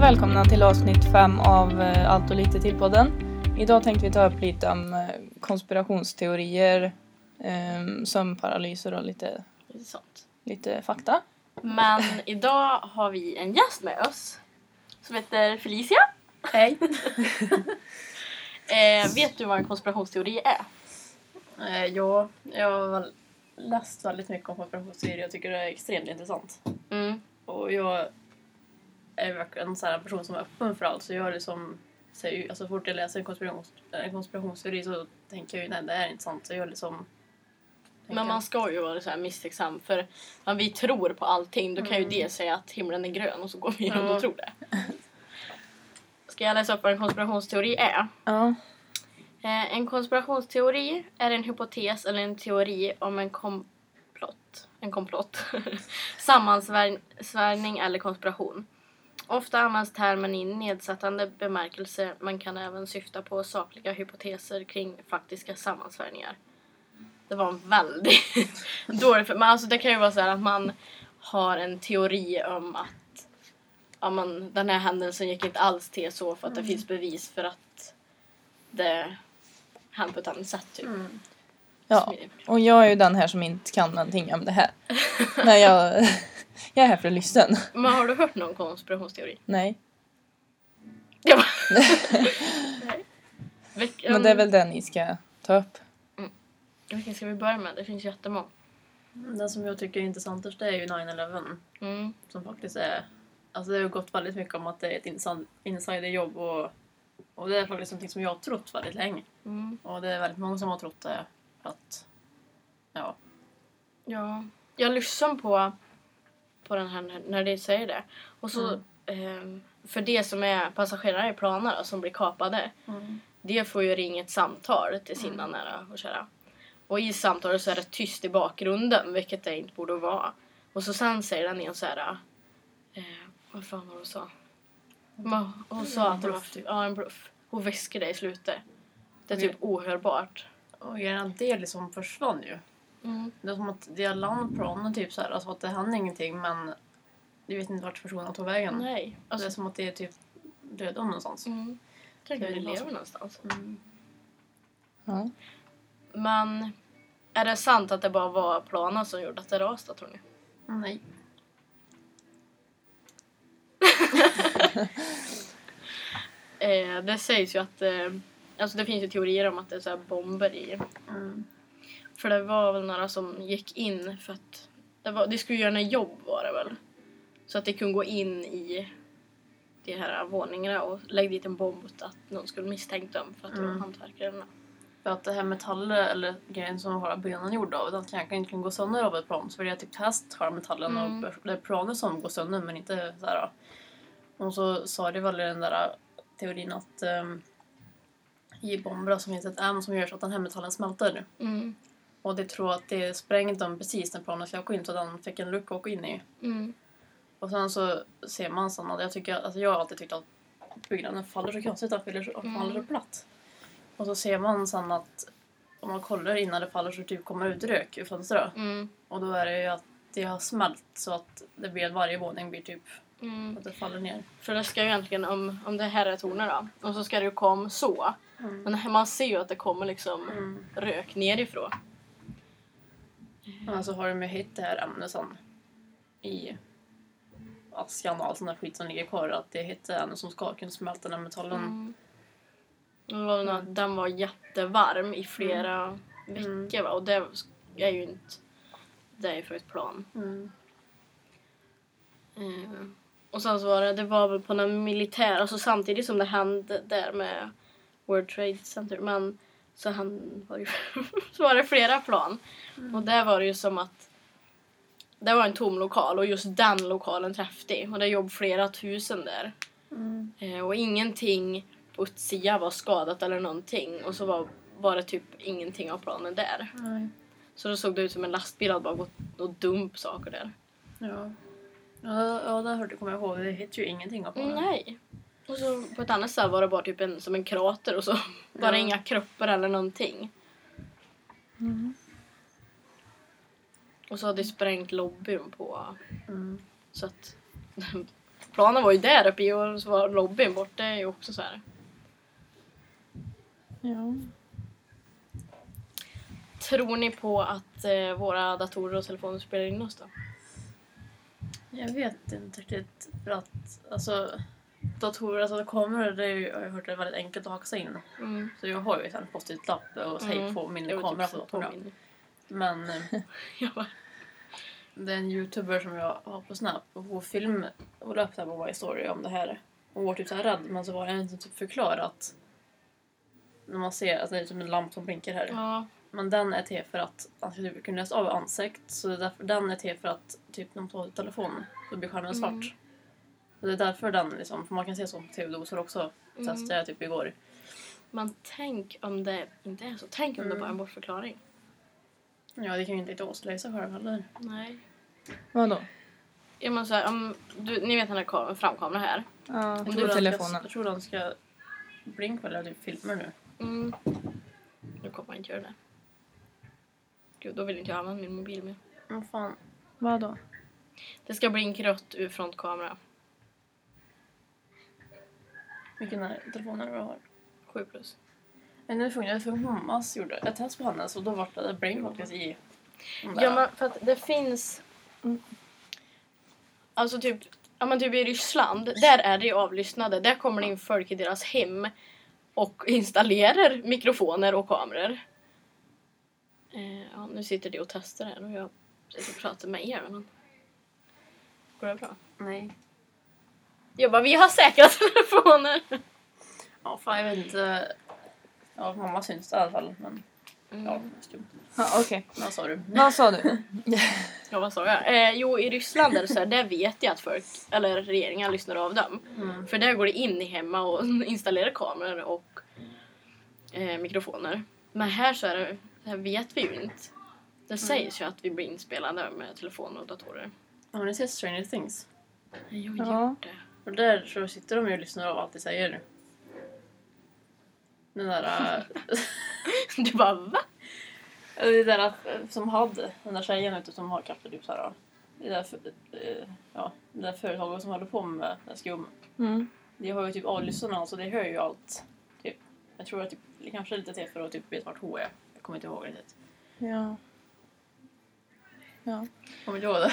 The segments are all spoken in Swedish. välkomna till avsnitt 5 av eh, Allt och lite till-podden. Idag tänkte vi ta upp lite om eh, konspirationsteorier, eh, sömnparalyser och lite, Lite sånt. lite fakta. Men idag har vi en gäst med oss som heter Felicia. Hej. Eh, vet du vad en konspirationsteori är? Eh, ja, jag har läst väldigt mycket om konspirationsteorier. Jag tycker det är extremt intressant. Mm. Och jag är verkligen en sån här person som är öppen för allt. Så jag liksom, så jag- alltså, så fort jag läser en, konspirations, en konspirationsteori så tänker jag ju nej det här är inte sant. Så jag liksom... Men man ska ju vara så här misstänksam för när vi tror på allting då kan ju Mm. det säga att himlen är grön och så går vi runt Ja. och tror det. Ska jag läsa upp vad en konspirationsteori är? Ja. Eh, en konspirationsteori är en hypotes eller en teori om en komplott, en komplott, sammansvärjning eller konspiration. Ofta används termen i nedsättande bemärkelse men kan även syfta på sakliga hypoteser kring faktiska sammansvärjningar. Det var en väldigt dålig... för- Men alltså det kan ju vara så här att man har en teori om att ja, men, den här händelsen gick inte alls till så för att det finns bevis för att det hänt på ett annat sätt. Typ. Mm. ja. Och jag är ju den här som inte kan någonting om det här. Nej, jag, jag är här för att lyssna. Men har du hört någon konspirationsteori? Nej, Jag bara... Vilken, men det är väl det ni ska ta upp. Vilken ska vi börja med? Det finns jättemånga. Den som jag tycker är intressantast det är ju 9-11. Mm. Som faktiskt är... Alltså det har ju gått väldigt mycket om att det är ett insan- insiderjobb och, och det är faktiskt någonting som jag har trott väldigt länge. Mm. Och det är väldigt många som har trott det. Att, ja. Ja. Jag lyssnar på, på den här när de säger det. Och så, Mm. ehm, för det som är passagerare i planen då, som blir kapade. Mm. Det får ju ringa ett samtal till sina nära och kära. Och i samtalet så är det tyst i bakgrunden, vilket det inte borde vara. Och så sen säger den igen så här... Eh, vad fan var det hon sa? Men Hon sa att det var... bluff, typ. Mm. Ja, en bluff. Hon väsker det i slutet. Det är Men- typ ohörbart. Och en del liksom försvann ju. Mm. Det är som att det är landplanen typ så här, alltså att det hände ingenting men du vet inte vart personen tog vägen. Nej. det är Alltså, som att det är typ döda någonstans. mm. Tänk om vi lever någonstans. Mm. Ja. Men är det sant att det bara var planen som gjorde att det rasade, tror ni? Nej. Eh, det sägs ju att... Eh, alltså det finns ju teorier om att det är så här bomber i Mm. För det var väl några som gick in för att det, var, det skulle göra några jobb var det väl. Så att det kunde gå in i de här våningarna och lägga dit en bomb åt att någon skulle misstänka dem för att de var Mm. hantverkare eller något. För att det här metallet eller grejen som våra benen är gjorda av den kan egentligen gå sönder av ett plan. Så det är typ test har metallen Mm. och det är planen som går sönder men inte så här. Och så sa det väl i den där teorin att ehm, i bomber så finns ett ämne som gör så att den här metallen smälter. Mm. Och det tror jag att det sprängde dem precis när planen skulle åka in så den fick en lucka att åka in i. Mm. Och sen så ser man sådana, jag, tycker, alltså jag har alltid tyckt att byggnaden faller så konstigt, den faller så, Mm. faller så platt. Och så ser man sen att om man kollar innan det faller så typ kommer ut rök ur fönstret. Mm. Och då är det ju att det har smält så att det blir varje våning blir typ Mm. att det faller ner. För det ska ju egentligen, om, om det här är tornet då, och så ska det ju komma så. Mm. Men man ser ju att det kommer liksom Mm. rök nerifrån. Men så har de ju hittat det här ämnet sen i askan och all sån där skit som ligger kvar. Att det hittar ämnen som ska kunna smälta den här metallen. Mm. Det var väl något att Mm. den var jättevarm i flera veckor va? och det är ju inte... Det är ju för ett plan. Mm. Eh, Och sen så var det, det var väl på någon militär, alltså samtidigt som det hände där med World Trade Center, men så, han, var, det, ju- så var det flera plan. Och där var det ju som att det var en tom lokal och just den lokalen träffade jag. och det jobb flera tusen där. Mm. Eh, Och ingenting på Utsia var skadat eller någonting. Och så var, var det typ ingenting av planen där. Nej. Så då såg det ut som en lastbil hade bara gått och dump saker där. Ja. Ja, ja det hörde, kommer jag ihåg. Det hette ju ingenting av planen. Nej. Och så på ett annat ställe var det bara typ en, som en krater och så bara Ja. inga kroppar eller någonting. Mm. Och så hade de sprängt lobbyn på Mm. så att Planen var ju där uppe i och så var lobbyn borta Det är ju också så här. Ja. Tror ni på att eh, våra datorer och telefoner spelar in oss då? Jag vet inte riktigt. För att, alltså, datorer, alltså kameror, det är ju, har jag hört är väldigt enkelt att hacka sig in. Mm. Så jag har ju en post-it-lapp och säg Mm. på min Det var typ kamera på så datorn. påminn. Men eh, Jag bara, det är en youtuber som jag har på Snap och på film och la upp det här på varje story om det här. Och var typ så här rädd men så var jag inte typ förklarat. När man ser att det är som en lamp som blinkar här. ja, Men den är till för att man ska typ kunna läsa av ansikt. Så det är därför, den är till för att typ när man tar ut telefonen så blir skärmen svart. Mm. Så det är därför den liksom, för man kan se så på tv-doser också. Mm. Testade jag typ igår. men tänk om det inte är så. Tänk om det Mm. bara är en bortförklaring. Ja, det kan ju inte riktigt avslöja sig själv heller. Nej. Vadå? Ja, men så här, om du, ni vet den här kam- framkameran här. Ja, du på tror den telefonen. Ska, jag tror de ska blinka eller typ filmer nu. Mm. Nu kommer man inte göra det. Gud, då vill inte jag använda min mobil mer. Men fan. Vadå? Det ska blinka rött ur frontkamera. Vilken är telefonen du har? 7 plus. Men nu funkar det för mammas gjorde ett test på hennes och då var det brain faktiskt i. den där. Ja, men för att det finns... Mm. Alltså typ, ja, men typ i Ryssland, där är det ju avlyssnade. Där kommer det in folk i deras hem och installerar mikrofoner och kameror. Eh, ja, nu sitter de och testar här och jag sitter och pratar med er. Men... Går det bra? Nej. Jag bara, vi har säkra telefoner! Ja, fan jag vet inte. Ja, mamma syns det i alla fall. Men ja, Mm. stumt. Ja, Okej, Vad sa du? vad sa du? Ja, vad sa jag? Eh, jo, i Ryssland är det så här, där vet jag att folk, eller regeringen, lyssnar av dem. Mm. För där går det in i hemma och installerar kameror och eh, mikrofoner. Men här så är det, det här vet vi ju inte. Det sägs ju att vi blir inspelade med telefoner och datorer. Har ni sett Stranger Things? Nej, jag Ja. gjort det. För där så sitter de ju och lyssnar av allt de säger. Den där... äh, Du bara va? det där äh, som hade, den där tjejen ute som har kanske typ såhär... Det där, för- äh, ja, det där företaget som håller på med den skum. Mm. De har ju typ avlyssnarna så det hör ju allt. Typ. Jag tror att typ, det kanske är lite till för att typ veta vart H är. Jag kommer inte ihåg riktigt. Ja. Ja. Kommer du ihåg det?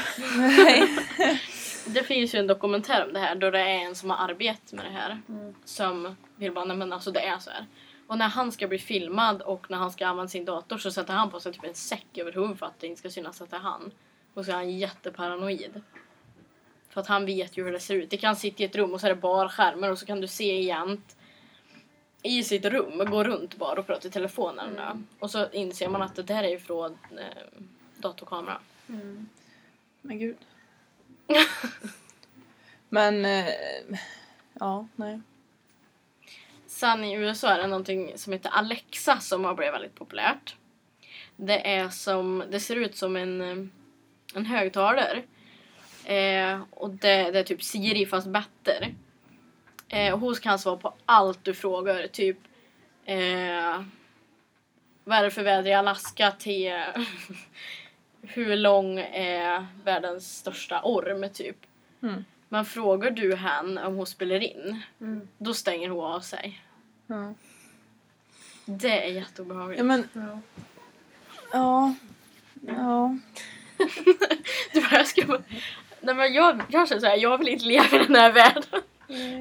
Det finns ju en dokumentär om det här då det är en som har arbetat med det här Mm. som vill bara nej men alltså det är så här. Och när han ska bli filmad och när han ska använda sin dator så sätter han på sig typ en säck över huvudet för att det inte ska synas att det är han. Och så är han jätteparanoid. För att han vet ju hur det ser ut. Det kan sitta i ett rum och så är det bara skärmar och så kan du se jämt i sitt rum och gå runt bara och prata i telefonen. Och så inser man att det där är ju från eh, datorkamera. Mm. Men gud. Men, eh, ja, nej. Sen i USA är det någonting som heter Alexa som har blivit väldigt populärt. Det är som, det ser ut som en, eh, en högtalare. Eh, och det, det är typ Siri fast bättre. Eh, och hon kan svara på allt du frågar, typ eh, vad är det för väder i Alaska till hur lång är världens största orm typ. Mm. Men frågar du henne om hon spelar in, Mm. då stänger hon av sig. Ja. Det är jätteobehagligt. ja, men, Ja. ja. Ja. Du bara, jag ska bara... Nej, men jag, jag känner såhär, jag vill inte leva i den här världen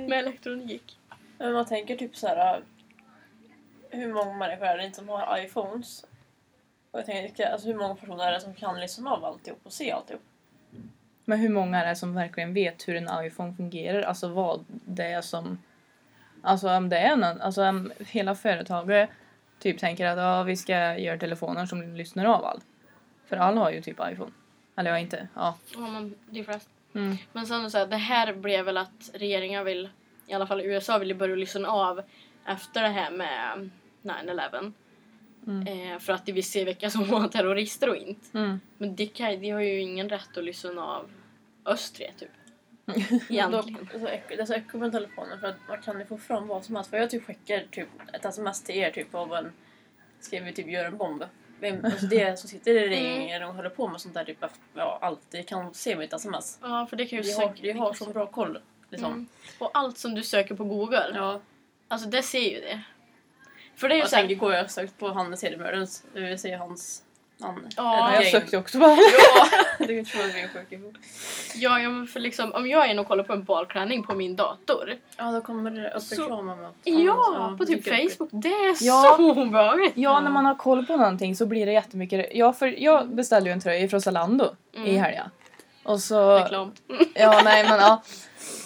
med elektronik. Men man tänker typ så här. Hur många människor är det inte som har iPhones? Och jag tänker, vilka- alltså hur många personer är det som kan lyssna av alltihop och se alltihop? Men hur många är det som verkligen vet hur en iPhone fungerar? Alltså vad det är som... Alltså om det är någon, alltså om hela företaget typ tänker att ja, vi ska göra telefoner som lyssnar av allt. För alla har ju typ iPhone. Eller jag inte. Ja. Ja, men det är flest. Mm. Men sen så här, det här blev väl att regeringen vill, i alla fall USA vill ju börja lyssna av efter det här med 9-11. Mm. Eh, för att de vill se vilka som var terrorister och inte. Mm. Men de, kan, de har ju ingen rätt att lyssna av öst tre, typ. Egentligen. Då- alltså, så äck- Det är så äckligt med telefonen för att man kan ju få fram vad som helst. För jag typ skickar typ ett sms till er typ av en... Ska vi typ göra en bomb? Vem, alltså det som sitter i Mm. regeringen och håller på med sånt där typ ja, alltid kan se mitt sms. Ja, för det kan ju Vi har, sänka- vi har så bra koll. Liksom. Mm. Och allt som du söker på Google, Ja. alltså det ser ju det. För det är ju Jag så här, tänker går jag sökt på Hannes Hedemörens, det vill säga hans namn. Ja, ja, jag gäng. sökte också på alla. Ja! det är ju inte frågan om jag är sjuk i huvudet. ja, ja, men för liksom, om jag är inne och kollar på en balklänning på min dator, Ja, då kommer det upp Så- reklam om att ja, på typ dyker upp i- Facebook, det är Ja. så obehagligt! Ja, när man har koll på någonting så blir det jättemycket... Ja, för jag beställde ju en tröja från Zalando i Mm. helgen. Och så... Reklam. Ja, nej men ja.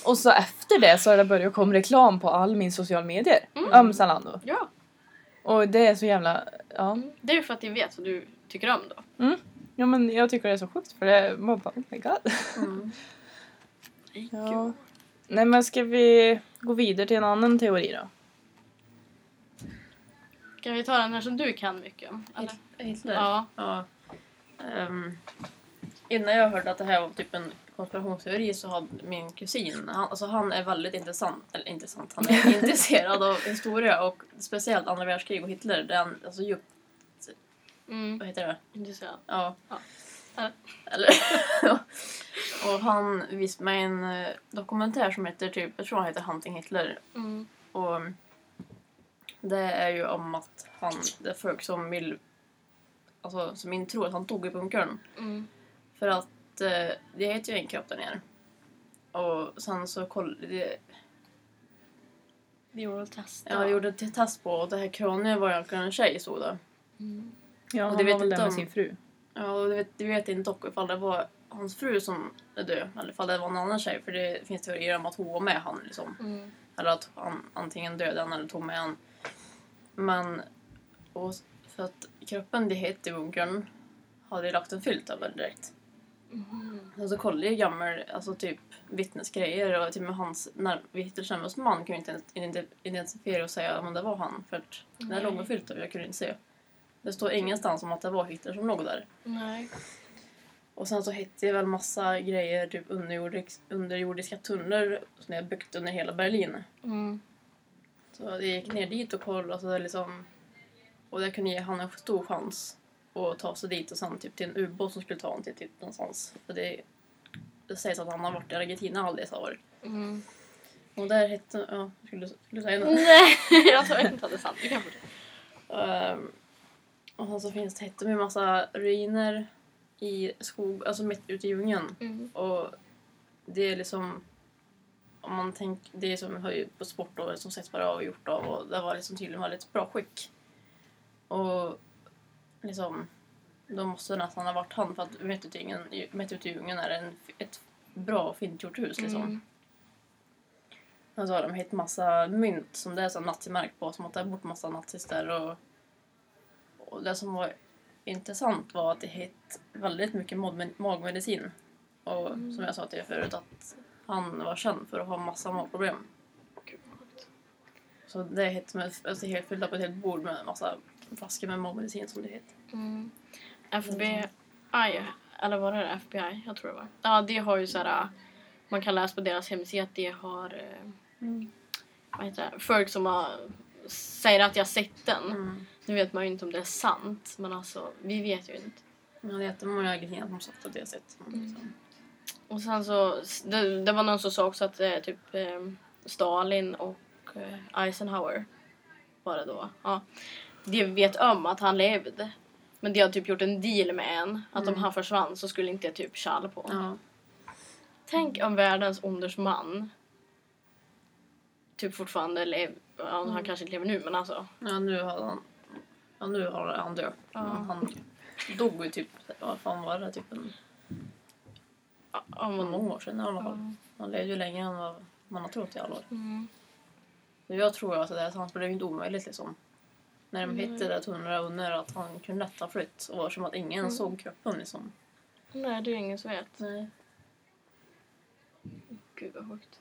Och så efter det så har det börjat komma reklam på all min social medier Mm. om Zalando. Ja, Och det är så jävla... Ja. det är ju för att jag vet vad du tycker om då. ja, men jag tycker det är så sjukt för det... Man bara, oh my god. Mm. Ja. Nej men ska vi gå vidare till en annan teori då? Kan vi ta den här som du kan mycket om? Eller? Hitler. Ja. Ja. Ehm, innan jag hörde att det här var typ en konspirationsteori så hade min kusin, han, alltså han är väldigt intressant, eller intressant, han är intresserad av historia och speciellt andra världskrig och Hitler. Den, alltså djupt, Mm. vad heter det? Intressant. Ja. Ja. Eller, och han visade mig en eh, dokumentär som heter typ, jag tror han heter Hunting Hitler Mm. och det är ju om att han, det är folk som vill, alltså som inte tror att han dog i bunkern. Mm. För att eh, det heter ju en kropp där nere. Och sen så kollade... Det, Vi gjorde ett test. ja, jag gjorde ett test på och det här kraniet var egentligen en tjej stod det. Mm. Ja, han han var var väl där där med om- sin fru. Ja, och du vet, du vet inte dock ifall det var hans fru som är död eller ifall det var en annan tjej för det finns teorier om att hon var med han liksom. Mm. Eller att han antingen dödade han eller tog med han. Men... Och, s- för att kroppen de hette i bunkern hade ju lagt en filt över direkt. Mm. Och så kollade jag gammal, alltså typ vittnesgrejer och till och med hans när Hitlers närmaste man kunde inte ens identi- identifiera och säga om det var han för att det Nej. låg med filt över, jag kunde inte se. Det står ingenstans om att det var Hitler som låg där. Nej. Och sen så hittade jag väl massa grejer, typ underjordisk, underjordiska tunnor som jag byggt under hela Berlin. Mm. Så jag gick ner dit och kollade och så där liksom och det kunde ge han en stor chans att ta sig dit och sen typ till en ubåt som skulle ta honom till typ någonstans. För det, det sägs att han har varit i Argentina alla dessa år. Mm. Och där hette... Ja, skulle, skulle säga något. Nej, jag tror inte att det är sant. Du kan få det. Ehm, och sen så finns det hette med massa ruiner i skog, alltså mitt ute i djungeln. Mm. Och det är liksom... Om man tänker, det är som höj på sport då, som sätts bara av och gjort av och det var liksom tydligen väldigt bra skick. Och liksom, då måste det nästan ha varit han för att mitt ute i djungeln- mitt ute i djungeln är en, ett bra och fint gjort hus liksom. Mm. Och så har de hittat massa mynt som det är så nazimärk på, som att det har bort massa nazis där och... Och det som var intressant var att de hittade väldigt mycket mod- magmedicin. Och Mm. som jag sa till er förut att han var känd för att ha massa magproblem. Gud, vad sjukt. Så det hittade med, alltså helt fyllt upp ett helt bord med massa flaskor med magmedicin som det hittade. Mm. Alltså. FBI, eller var det det? FBI? Jag tror det var. Ja, det har ju så här... äh, Man kan läsa på deras hemsida att det har... äh, Mm. Vad heter det? Folk som har, säger att jag sett den. Mm. Nu vet man ju inte om det är sant, men alltså, vi vet ju inte. Men det är jättemånga grejer som sagt att det har sett. Mm. Och sen så, det, det var någon som sa också att eh, typ eh, Stalin och eh, Eisenhower var det då. Ja. De vet om att han levde. Men de har typ gjort en deal med en att om Mm. han försvann så skulle inte jag typ tjall på honom. Ja. Tänk om världens åldersman typ fortfarande lever, ja, han Mm. kanske inte lever nu men alltså. ja, nu har han... Ja, nu har han dött. Ja. Men han dog ju typ... Vad fan var det? Typ en... ja, Om, var många år sedan i alla fall. ja. Han levde ju längre än vad man har trott i alla år. Mm. Så jag tror att det är sant, för det är ju inte omöjligt liksom. När de Nej. hittade det tunneln under att han kunde lätt ha flytt och var som att Mm. ingen såg kroppen liksom. Nej, det är ingen som vet. Nej. Gud vad sjukt.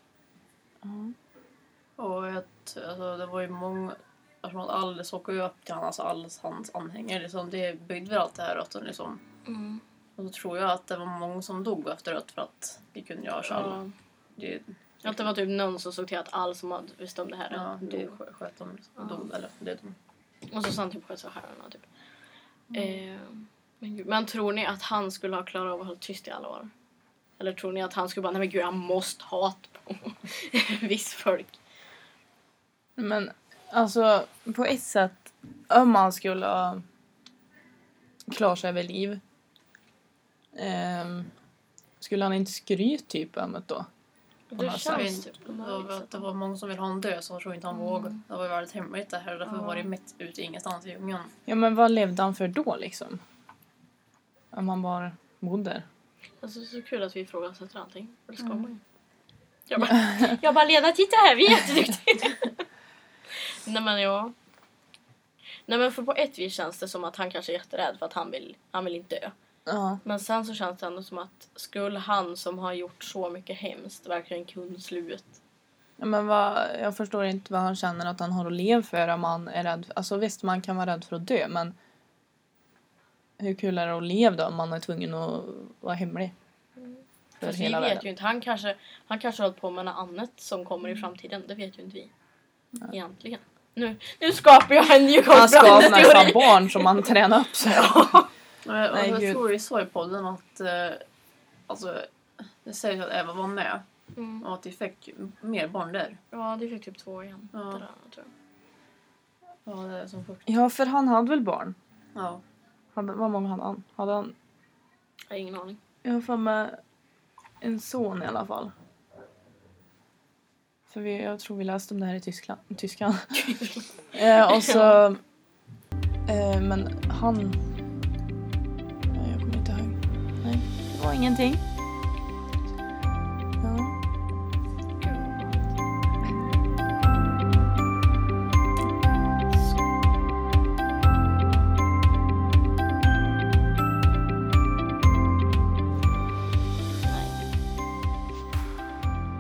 Och jag, t- alltså, det var ju många... Eftersom att alla såg ju upp till honom, alltså alla hans anhängare liksom. Det byggde väl allt det här rötten liksom. Mm. Och då tror jag att det var många som dog efter rött för att det kunde göra så alla. Ja. Det, Att det var typ någon som såg till att all som hade visste om det här ja, det dog. skö- sköt de. Ja. Dog, eller det de. Och så sa han typ sköt sig själv. Typ. Mm. Eh, men, gud. men tror ni att han skulle ha klarat av att hålla tyst i alla år? Eller tror ni att han skulle bara, nej men gud jag måste ha på viss folk? Men alltså på ett sätt, om man skulle ha klarat sig över liv ehm, skulle han inte skryta typ om det då? Det känns Jag känns vet inte, typ det var, att det var många som ville ha honom död så jag tror inte han vågade. Det var ju väldigt hemligt det här och därför Ja. var det mitt ute i ingenstans i djungeln. Ja men vad levde han för då liksom? Om han bara bodde där. Alltså så kul att vi ifrågasätter allting. För det ska man ju. Jag bara, jag bara Lena titta här, vi är jätteduktiga. Nej men ja. Nej men för på ett vis känns det som att han kanske är jätterädd för att han vill, han vill inte dö. Ja. Men sen så känns det ändå som att skulle han som har gjort så mycket hemskt verkligen kunna slut? Ja, Men vad, jag förstår inte vad han känner att han har att leva för om han är rädd. Alltså visst, man kan vara rädd för att dö, men hur kul är det att leva då om man är tvungen att vara hemlig? För Fast Alltså, vi hela vet världen. ju inte. Han kanske, han kanske har hållit på med något annat som kommer i framtiden. Det vet ju inte vi. Egentligen. Nu, nu skapar jag en Han ska Newcastle-teori. nästan barn som man tränar upp sig. Men jag, Nej, jag gud. tror vi sa i podden att eh, alltså, det sägs att Eva var med Mm. och att vi fick mer barn där. Ja, det fick typ två igen. Ja. Det där, tror jag. Ja, det är som först. Ja, för han hade väl barn? Ja. Han, vad många hade han? Hade han? jag har ingen aning. Jag har för mig en son i alla fall. För vi, jag tror vi läste om det här i Tyskland. Tyskland. eh, och så... Eh, men han... Nej, jag kommer inte ihåg. Nej, det var ingenting. Ja.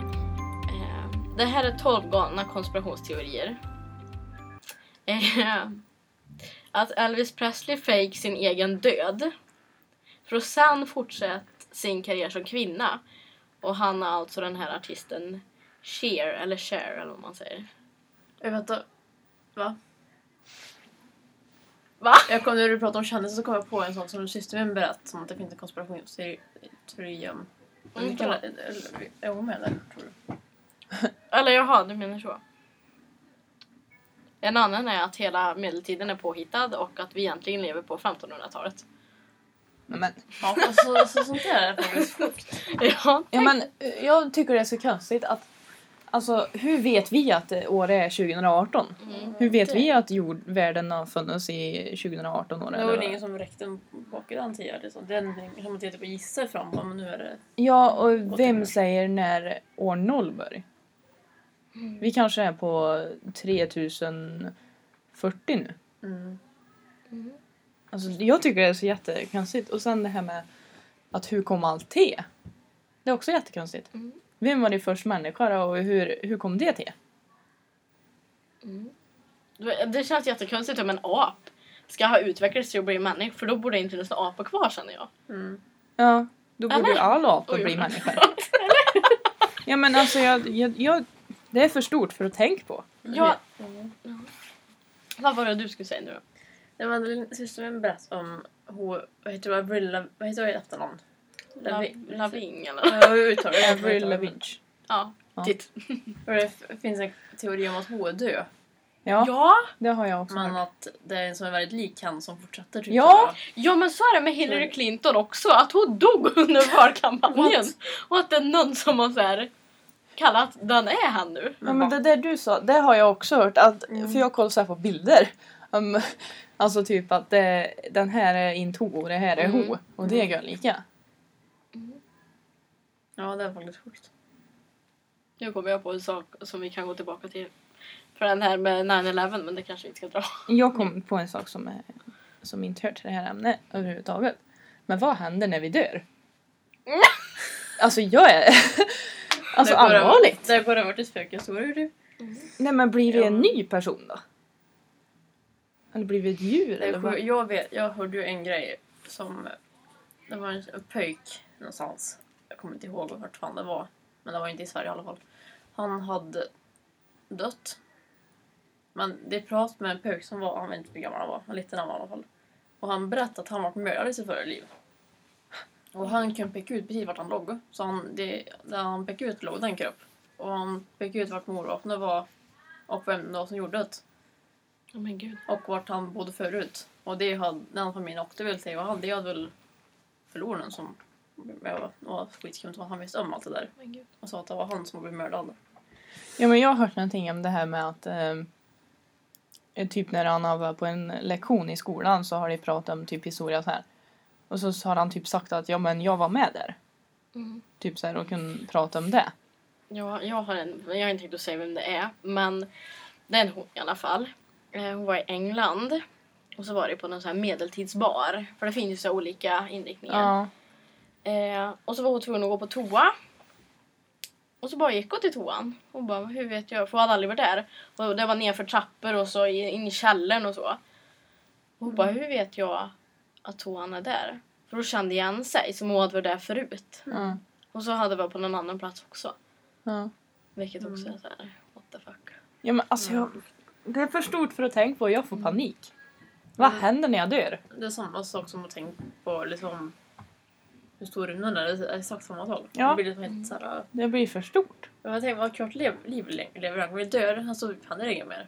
Eh, Det här är 12 galna konspirationsteorier. Eh, Att Elvis Presley fake sin egen död. För att sen fortsätta sin karriär som kvinna. Och han är alltså den här artisten Cher, eller Cher eller vad man säger. Jag vänta. Va? Va? Jag kom, när du pratade om kändisar så kom jag på en sak som systern berättade som att det finns en konspirationsteori om. Men vi Inte kallar- eller- Är hon med där, tror du? Eller jaha, du menar så. En annan är att hela medeltiden är påhittad och att vi egentligen lever på 1500-talet. Nej, men, Ja, alltså, så, sånt där är faktiskt sjukt. Ja, ja, men, eh, jag tycker det är så konstigt att... Alltså, hur vet vi att eh, året är 2018? Mm. Hur vet Det- vi att jordvärlden har funnits i 2018 år? Det var väl Eller? ingen som räckte bak i den tiden. Liksom. Det är någonting som man tittar på och gissar fram på, men nu är det... Ja, och vem säger när år noll börjar? Mm. Vi kanske är på 3040 nu. Mm. Alltså, jag tycker det är så jättekonstigt. Och sen det här med att hur kom allt till? Det är också jättekonstigt. Mm. Vem var det först människa då, och hur, hur kom det till? Mm. Det- Det känns jättekonstigt om en ap ska ha utvecklats till att bli en människa för då borde det inte finnas några apor kvar känner jag. Mm. Ja, då borde Eller? ju alla apor Oj, bli oj. människor. ja men alltså jag, jag, jag, det är för stort för att tänka på. Ja, Mm. vad var det du skulle säga nu då? Det var en syster som berättade om hon, vad heter det, Avril Lav- vad heter hon i efternamn? Lavi- La- Laving eller? Ja, hur uttalar jag det? Avril Lavigne. Ja, Ja. titt. För Det f- finns en teori om att hon är död. Ja, Ja. det har jag också Men hört. att det är en som är väldigt lik han som fortsätter. Typ, Ja! ja, men så är det med Hillary Clinton också att hon dog under valkampanjen och att det är någon som har så här kallat den är han nu. Ja, men det där du sa, det har jag också hört. Att, För jag kollar så här på bilder. Um, alltså typ att det, den här är into och det här är ho. Mm. Och det är görlika. ja, det är faktiskt sjukt. Nu kommer jag på en sak som vi kan gå tillbaka till för den här med 9-11 men det kanske vi inte ska dra. Jag kom på en sak som, är, som inte hör till det här ämnet överhuvudtaget. Men vad händer när vi dör? Alltså jag är... Alltså Det börjar- allvarligt. Det har bara varit ett spökhistoria typ. Nej men blir vi en Ja. ny person då? Eller blir vi ett djur? Det är Eller vad? sjukt. Jag, vet, jag hörde ju en grej som... Det var en pöjk någonstans. Jag kommer inte ihåg vart fan det var. Men det var inte i Sverige i alla fall. Han hade dött. Men det pratade med en pöjk som var... Han vet inte hur gammal han var. Men liten han var i alla fall. Och han berättade att han varit mördad i sitt förra liv. Och han kan peka ut precis vart han låg. Så han, det, där han pekade ut låg den kropp. Och han pekade ut vart mordvapnet var och vem det var som gjorde det. Åh men gud. Och vart han bodde förut. Och det hade, den familjen åkte väl till, vad hade, det hade väl förloraren som det var skitskumt vad han visste om allt det där. Men gud. Och sa att det var han som blev mördad. Ja, men jag har hört någonting om det här med att ehm, eh, typ när han var på en lektion i skolan så har de pratat om typ historia så här. Och så har han typ sagt att ja, men jag var med där. Mm. Typ så här och kunde prata om det. Ja, jag har en, jag har inte tänkt att säga vem det är, men det är en hon i alla fall. Eh, Hon var i England och så var det på någon sån här medeltidsbar, för det finns ju så här olika inriktningar. Ja. Eh, och så var hon tvungen att gå på toa. Och så bara gick hon till toan. Hon bara, hur vet jag? För hon hade aldrig varit där. Och det var nerför trappor och så i- in i källaren och så. Och hon bara, hur vet jag att toan är där? För hon kände igen sig som hon hade varit där förut. Ja. Och så hade det varit på någon annan plats också. ja. Vilket också är såhär, what the fuck. Ja, men alltså Mm. jag, det är för stort för att tänka på. Jag får panik. Vad Mm. händer när jag dör? Det är samma sak som att tänka på liksom, hur stor rymden är. Det är exakt samma sak. Ja. Det blir liksom helt såhär... Det blir för stort. Jag tänker vad kort liv, liv lever han? Kommer vi dö? Han står han är inget mer.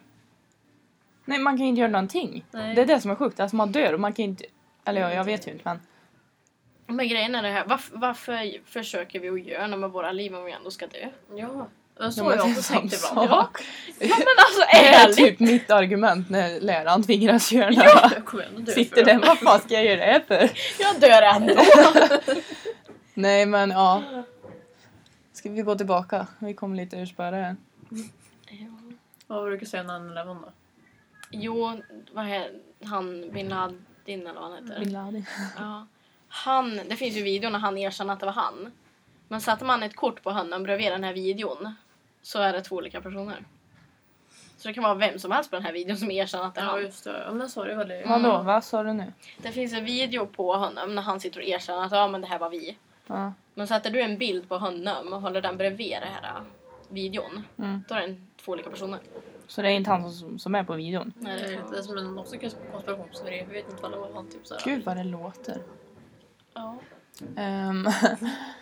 Nej, man kan ju inte göra någonting. Nej. Det är det som är sjukt. Alltså man dör och man kan inte... Eller ja, jag vet ju inte men... Men grejen är det här, varför, varför försöker vi att göra något med våra liv om vi ändå ska dö? Ja. Det var så men jag det är också tänkte samma ibland. sak. Ja. Ja men alltså Det är ärligt! typ mitt argument när läraren tvingas göra det. Jag kommer ändå dö Sitter för den, vad fan ska jag göra det här för? Jag dör ändå! Nej men ja. Ska vi gå tillbaka? Vi kom lite ur spöre här. Vad brukar du säga när han är eleven då? Jo, vad heter han? Bin Laden eller vad han heter. Bin Laden. Ja. Han, det finns ju videon när han erkänner att det var han. Men satte man ett kort på honom bredvid den här videon så är det två olika personer. Så det kan vara vem som helst på den här videon som erkänner att det är Ja han. just det, ja, men så är det väl. det. Vadå, vad sa du nu? Det finns en video på honom när han sitter och erkänner att ja, men det här var vi. Ja. Men sätter du en bild på honom och håller den bredvid den här äh, videon, Mm. då är det två olika personer. Så det är inte han som, som är på videon? Det Nej, det är är lite som en också konspirationsteori. Vi vet inte vad det var han typ såhär. Gud vad det låter. ja. Ehm,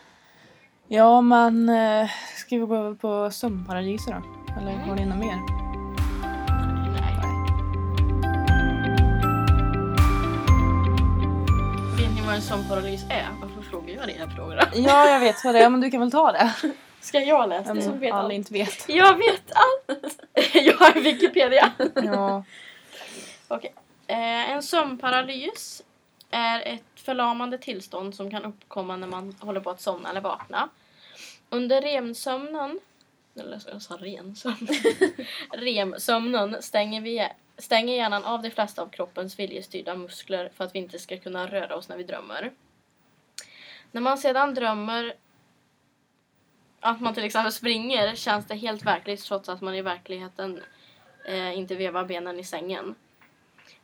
ja men eh, ska vi gå över på sömnparadiset då? Eller har ni något mer? Nej. Vet ni vad en sömnparalys är? Varför frågar jag dina frågor? då? Ja jag vet vad det är men du kan väl ta det? Ska jag läsa det? Eftersom alla inte vet. Jag vet allt! jag har Wikipedia. Ja. Eh, en sömnparalys är ett förlamande tillstånd som kan uppkomma när man håller på att somna eller vakna. Under REM-sömnen, eller jag sa REM-sömnen, REM-sömnen stänger, vi, stänger hjärnan av de flesta av kroppens viljestyrda muskler för att vi inte ska kunna röra oss när vi drömmer. När man sedan drömmer att man till exempel springer känns det helt verkligt trots att man i verkligheten eh, inte vevar benen i sängen.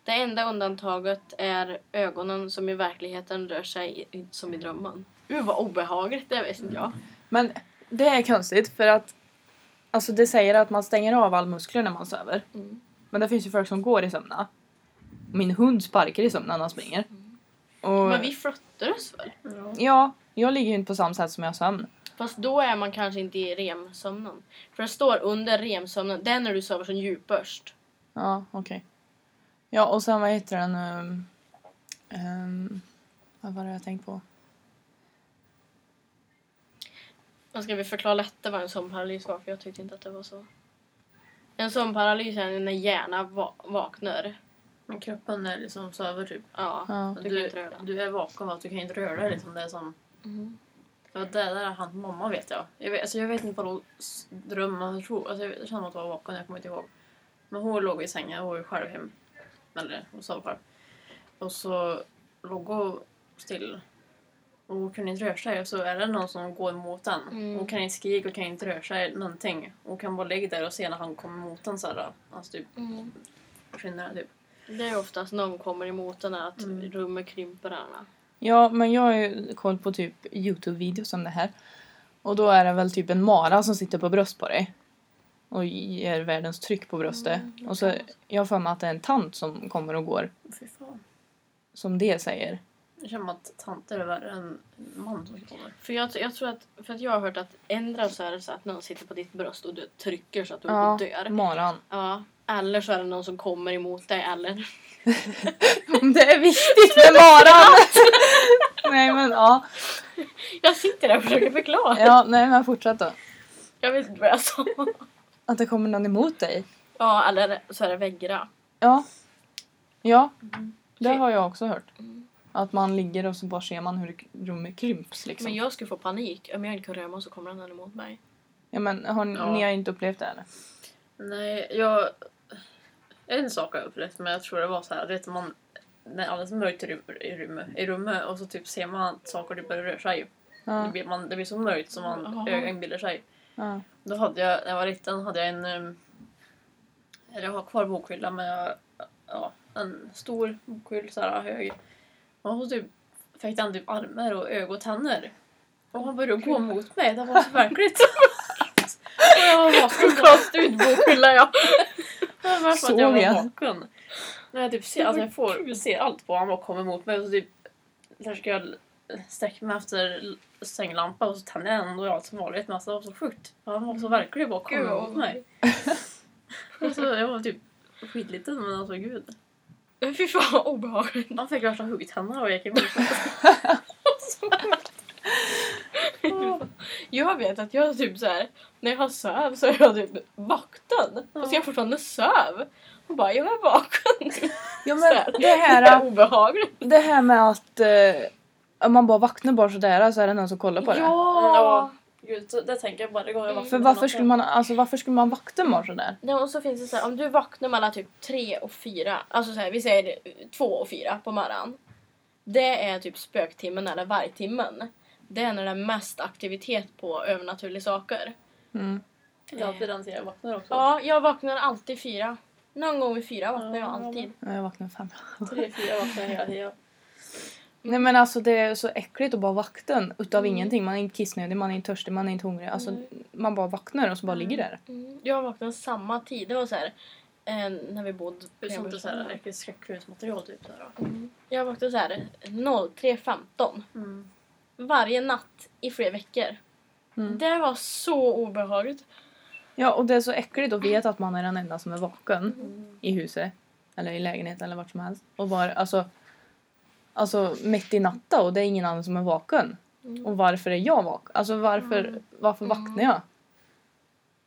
Det enda undantaget är ögonen som i verkligheten rör sig i- som i drömmen. Uh, vad obehagligt, det visste inte jag. Men det är konstigt för att Alltså det säger att man stänger av all muskler när man söver. Mm. Men det finns ju folk som går i sömna. Min hund sparkar i sömna när han springer. Och, Men vi flyttar oss väl? Ja. Ja, jag ligger ju inte på samma sätt som jag har sömn. Fast då är man kanske inte i REM-sömnen. För det står under REM-sömnen, det är när du sover som djupast. Ja, okej. Ja, och sen vad heter den? ehm, ehm, vad var det jag tänkte på? Men ska vi förklara lättare vad en sömnparalys var? För jag tyckte inte att det var så. En sömnparalys är när hjärnan va- vaknar. Men kroppen är liksom söver typ. Ja. Ja. Du kan Du, inte röra. du är vaken va? Du kan inte röra dig liksom. Det är som... Mm. Det var det där han mamma vet jag. Jag vet, alltså jag vet inte vad hon s- drömde. Jag, tror, alltså jag känner att hon var vaken, jag kommer inte ihåg. Men hon låg i sängen, hon var ju själv hem. Eller hon sov själv. Och så låg hon still. Och hon kunde inte röra sig. Och så är det någon som går mot den. Mm. Hon kan inte skrika och kan inte röra sig någonting. Hon kan bara ligga där och se när han kommer mot den såhär. Alltså typ Mm. försvinner typ. Det är oftast någon kommer emot den här att Mm. rummet krymper. Här. Ja, men jag har ju koll på typ Youtube-videos om det här. Och då är det väl typ en mara som sitter på bröst på dig. Och ger världens tryck på bröstet. Mm, och så, jag har för mig att det är en tant som kommer och går. Fy fan. Som det säger. Det känns som att tanter är värre än man som kommer. För jag, jag tror att, för att jag har hört att ändra så är det så att någon sitter på ditt bröst och du trycker så att du Ja, Mm. dör. maran. Ja. Eller så är det någon som kommer emot dig eller... Om det är viktigt med maran! nej men ja. Jag sitter där och försöker förklara. ja, nej men fortsätt då. Jag vet inte vad jag sa. Att det kommer någon emot dig. Ja, eller så är det väggra. Ja. Ja, Mm. det Fy- har jag också hört. Att man ligger och så bara ser man hur det- rummet krymps liksom. Men jag skulle få panik. Om jag inte kan röra mig så kommer den emot mig. Ja men har ni, Ja. ni har inte upplevt det eller? Nej, jag... En sak har jag upplevt, men jag tror det var så här, du vet man... När det är alldeles mörkt i rum- i rummet, i rummet och så typ ser man att saker typ börjar röra sig. Det, Ja. blir, man, det blir så mörkt som man Jaha. ögonen inbillar sig. ja. Då hade jag, när jag var liten, hade jag en... ehm, Eller jag har kvar bokhylla med ja, en stor bokhyll, så här hög. Och så typ fick den typ armar och ögon och tänder. Och han började gå mot mig, det var så verkligt. och jag var så Kast ut bokhyllan jag. Det var som Såg att jag var jag. vaken. När jag typ ser, alltså jag får se allt på honom och kommer mot mig och så typ försöker jag sträcka mig efter l- sänglampan och så tänder jag den och jag har allt som vanligt men alltså det var så sjukt. Han var så verklig bara Gud, kom mot vad mig. Alltså, jag var typ skitliten men alltså gud. Fy fan vad obehagligt. Han fick värsta huggtänderna och gick emot Jag vet att jag typ så här, när jag söv så är jag typ vaktad. Fast jag fortfarande söv. Och bara, jag är vaken. ja Så här. men det Det är här, obehagligt. det här med att eh, om man bara vaknar bara sådär så är det någon som kollar på det. Ja. Gud, så det tänker jag varje gång jag Mm. För varför skulle man, alltså, varför skulle man vakta en morgon sådär? Nej, och så finns det så här, om du vaknar mellan typ tre och fyra, alltså så här, vi säger eh, två och fyra på morgonen. Det är typ spöktimmen eller vargtimmen. Det är när det är mest aktivitet på övernaturliga saker. Mm. Det är alltid den tiden jag vaknar också. Ja, jag vaknar alltid fyra. Någon gång vid fyra vaknar jag Ja, alltid. Ja, Jag vaknar fem. Tre, fyra vaknar jag hela tiden. Nej men alltså det är så äckligt att bara vakna utav Mm. ingenting. Man är inte kissnödig, man är inte törstig, man är inte hungrig. Alltså Nej. man bara vaknar och så bara Mm. ligger där. Mm. Jag vaknade samma tid. Det var så här, eh, när vi bodde Det är sånt där bredvid så här varandra. äckligt skräckfilmsmaterial typ. Så här. Mm. Jag vaknade så här 03.15 Mm. varje natt i flera veckor. Mm. Det var så obehagligt. Ja och det är så äckligt att veta att man är den enda som är vaken i huset. Eller i lägenheten eller vart som helst. Och bara alltså, alltså mitt i natten och det är ingen annan som är vaken. Mm. Och varför är jag vaken? Alltså varför, varför Mm. vaknar jag?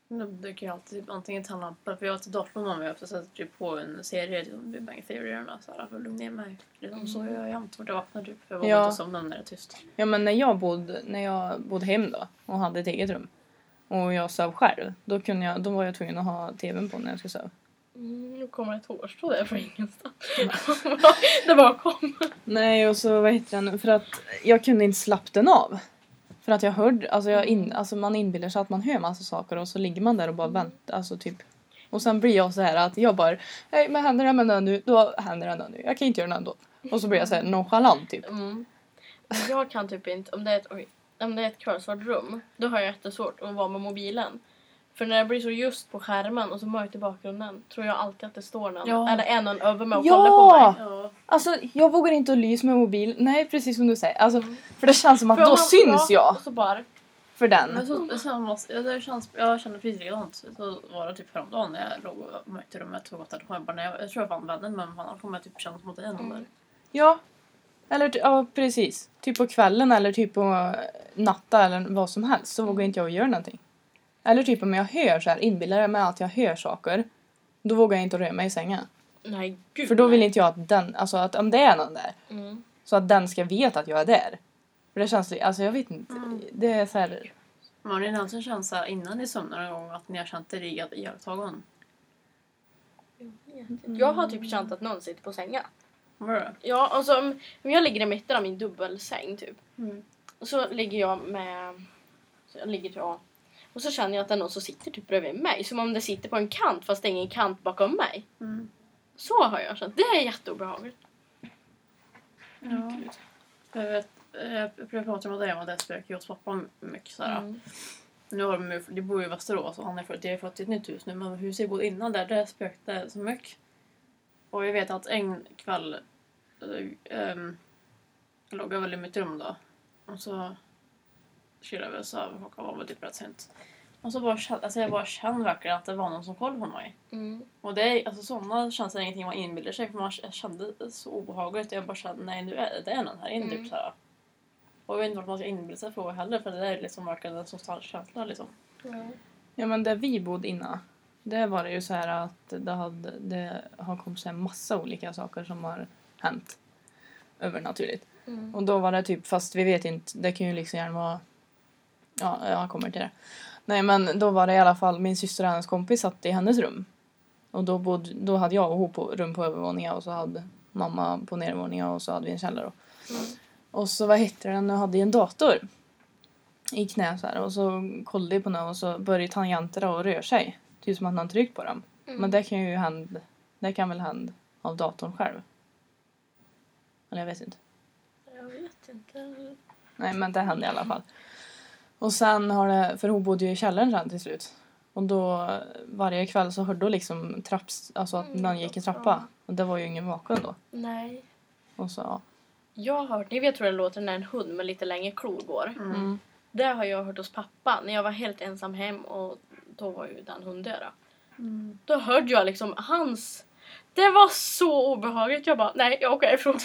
Då brukar jag alltid typ antingen tända lampan, för jag har alltid datorn med mig och så sätter jag typ på en serie, typ Big Bang Theory eller något sådär för att lugna ner mig. Liksom så gör jag jämt vart jag vaknar typ. För jag vågar Ja. inte somna när det är tyst. Ja men när jag bodde, när jag bodde hem då och hade ett eget rum och jag sov själv, då, kunde jag, då var jag tvungen att ha tvn på när jag skulle sova. Mm, nu kommer ett hårstrå där från ingenstans. det bara kom. Nej och så vad heter den, för att jag kunde inte slappna den av. För att jag hörde, alltså, jag in, alltså man inbillar sig att man hör massa saker och så ligger man där och bara väntar, alltså typ. Och sen blir jag så här att jag bara, hej men händer det med den nu, då händer det med den nu, jag kan inte göra den ändå. Och så blir jag så här nonchalant typ. Mm. Jag kan typ inte, om det är ett, oj, om det är ett kolsvart rum, då har jag jättesvårt att vara med mobilen. För när det blir så just på skärmen och så mörkt i bakgrunden tror jag alltid att det står någon, Ja. eller är någon över mig och Ja! kollar på mig. Ja. Mm. Alltså jag vågar inte att lysa med mobil, nej precis som du säger, alltså för det känns som att För om då man- syns ja, jag Och så bara, för den. Men så, samma, jag, det känns, jag känner precis likadant. Så var det typ häromdagen när jag låg och märkte rummet och gått jag bara, nej, jag, jag tror jag vann vännen men fan, annars kommer jag typ känna som att det är någon där. Ja. Eller ty- ja, precis. Typ på kvällen eller typ på eh, natta eller vad som helst så vågar inte jag göra någonting. Eller typ om jag hör så här, inbillar jag mig att jag hör saker, då vågar jag inte röra mig i sängen. nej gud. För då vill nej. inte jag att den, alltså att om det är någon där, Mm. så att den ska veta att jag är där. För det känns, li- alltså jag vet inte, det är så här, Men har ni någonsin känt så här innan ni somnar någon gång att ni har känt er i- iakttagen? Jag har typ känt att någon sitter på sängen. Var det? Ja, alltså om, om jag ligger i mitten av min dubbelsäng typ. Mm. Och så ligger jag med... Så jag ligger ja. Och så känner jag att det är någon som sitter typ bredvid mig. Som om det sitter på en kant fast det är ingen kant bakom mig. Mm. Så har jag känt. Det är jätteobehagligt. Ja. Jag vet, jag jag pratade med dig om det spöket hos pappa mycket såhär. Mm. Nu har de, ju- de bor ju i Västerås och han har fått, de har fått ett nytt hus nu men huset jag bodde innan där, där spökte det så mycket. Och jag vet att en kväll eh, ehm, låg jag väl i mitt rum då. Och så chillade vi och sov. Klockan var väl typ rätt sent. Och så bara, kände- alltså jag bara kände verkligen att det var någon som kollade på mig. Mm. Och det är, alltså sådana känslor är ingenting man inbillar sig för man k- kände det så obehagligt. Jag bara kände nej nu är det är någon här inne Mm. typ såhär. Och jag vet inte vart man ska inbilla sig på heller för det där är liksom verkligen en så stark känsla liksom. Ja. Ja men där vi bodde innan, där var det ju så här att det, hade, det har kommit så här massa olika saker som har hänt övernaturligt. Mm. Och då var det typ, fast vi vet inte, det kan ju liksom gärna vara... Ja, jag kommer till det. Nej men då var det i alla fall, min syster och hennes kompis satt i hennes rum. Och då, bodde, då hade jag och hon på rum på övervåningen och så hade mamma på nedervåningen och så hade vi en källare. Mm. Och så vad hette den? Jag hade ju en dator i knä så här och så kollade jag på den och så började tangenterna att röra sig. Typ som att någon tryckt på dem. Mm. Men det kan ju hända, det kan väl hända av datorn själv. Eller jag vet inte. Jag vet inte. Nej men det hände i alla fall. Och sen har det, för hon bodde ju i källaren sen till slut. Och då varje kväll så hörde hon liksom trapps, alltså att Mm, någon gick i trappa. Och det var ju ingen vaken då. Nej. Och så ja. Jag har hört, ni vet hur det låter när en hund med lite längre klor går. Mm. Det har jag hört hos pappa när jag var helt ensam hem och då var ju den hunden då. Då hörde jag liksom hans... Det var så obehagligt. Jag bara, nej jag åker ifrån.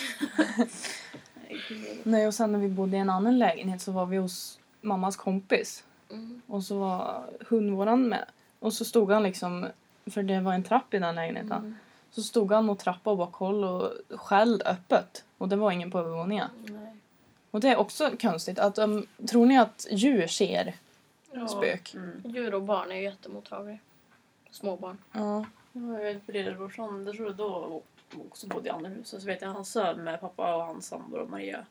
Nej och sen när vi bodde i en annan lägenhet så var vi hos mammas kompis. Mm. Och så var hundvåran med. Och så stod han liksom, för det var en trapp i den lägenheten. Mm. Så stod han och trappa och bara koll och skällde öppet. Och det var ingen på övervåningen. Mm. Nej. Och det är också konstigt att, um, tror ni att djur ser Ja. spök? Mm. Djur och barn är ju jättemottagliga. Småbarn. Ja. Det var ju ett brillebrorsan, jag tror då också bodde i andra huset, så vet jag han sov med pappa och hans sambo och Maria.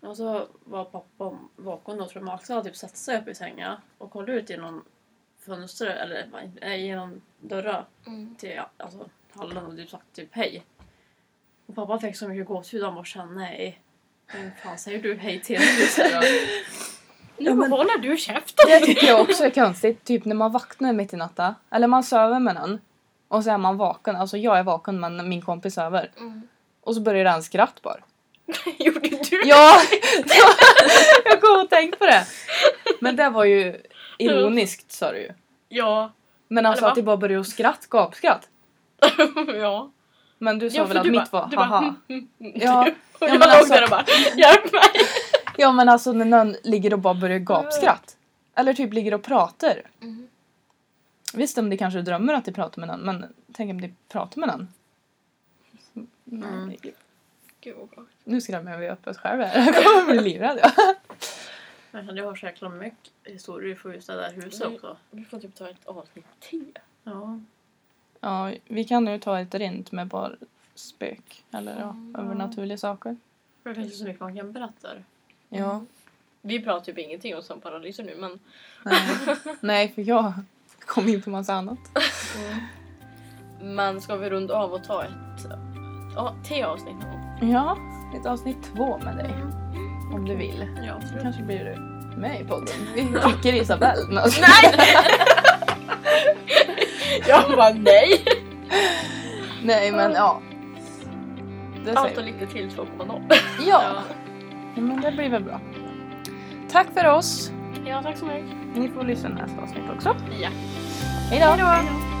Och så var pappa vaken då, tror jag, Max hade typ satt sig upp i sängen och kollade ut genom fönstret, eller nej, genom dörrar Mm. till alltså, hallen och typ sagt typ hej. Och pappa fick så mycket gåshud, han bara kände nej. Vem fan säger du hej till? Nu Ja, men- håller du käften! Det tycker jag också är konstigt. Typ när man vaknar mitt i natten. Eller man sover med någon. Och så är man vaken. Alltså jag är vaken men min kompis sover. Mm. Och så börjar den skratt bara. Gjorde du Ja! jag kom och tänkte på det. Men det var ju ironiskt sa du ju. Ja. Men alltså Eller att det bara började skratt, gapskratt. ja. Men du sa Ja, för väl att du mitt bara- var du bara, haha. "Mm, mm, mm." Ja, Och Ja, jag men låg alltså- där och bara hjälp mig! ja men alltså när någon ligger och bara börjar gapskratt. Eller typ ligger och pratar. Mm. Visst om de kanske drömmer att de pratar med någon men tänk om de pratar med någon. Mm. Gud vad bra. Nu skrämmer jag mig öppet själv här. Jag kommer bli livrädd. Ja. Men jag har så jäkla mycket historier, vi får ju städa huset också. Vi får typ ta ett avsnitt till. Ja. ja, vi kan nu ta ett rent med bara spök eller ja, Mm. övernaturliga saker. För det finns ju så mycket man kan berätta. Ja. Vi pratar typ ingenting om sömnparalyser nu men Nej. Mm. Nej, för jag kom in på massa annat. Men ska vi runda av och ta ett ja, till avsnitt någon gång? Ja, ett avsnitt två med dig. Om du vill. Ja, Så kanske blir du med i podden. Vi skickar Isabelle. Nej! Jag bara nej! Nej, men ja. Det Allt säger och vi. lite till 2.0. Ja. ja, men det blir väl bra. Tack för oss. Ja tack så mycket. Ni får lyssna nästa avsnitt också. Ja. Hej då!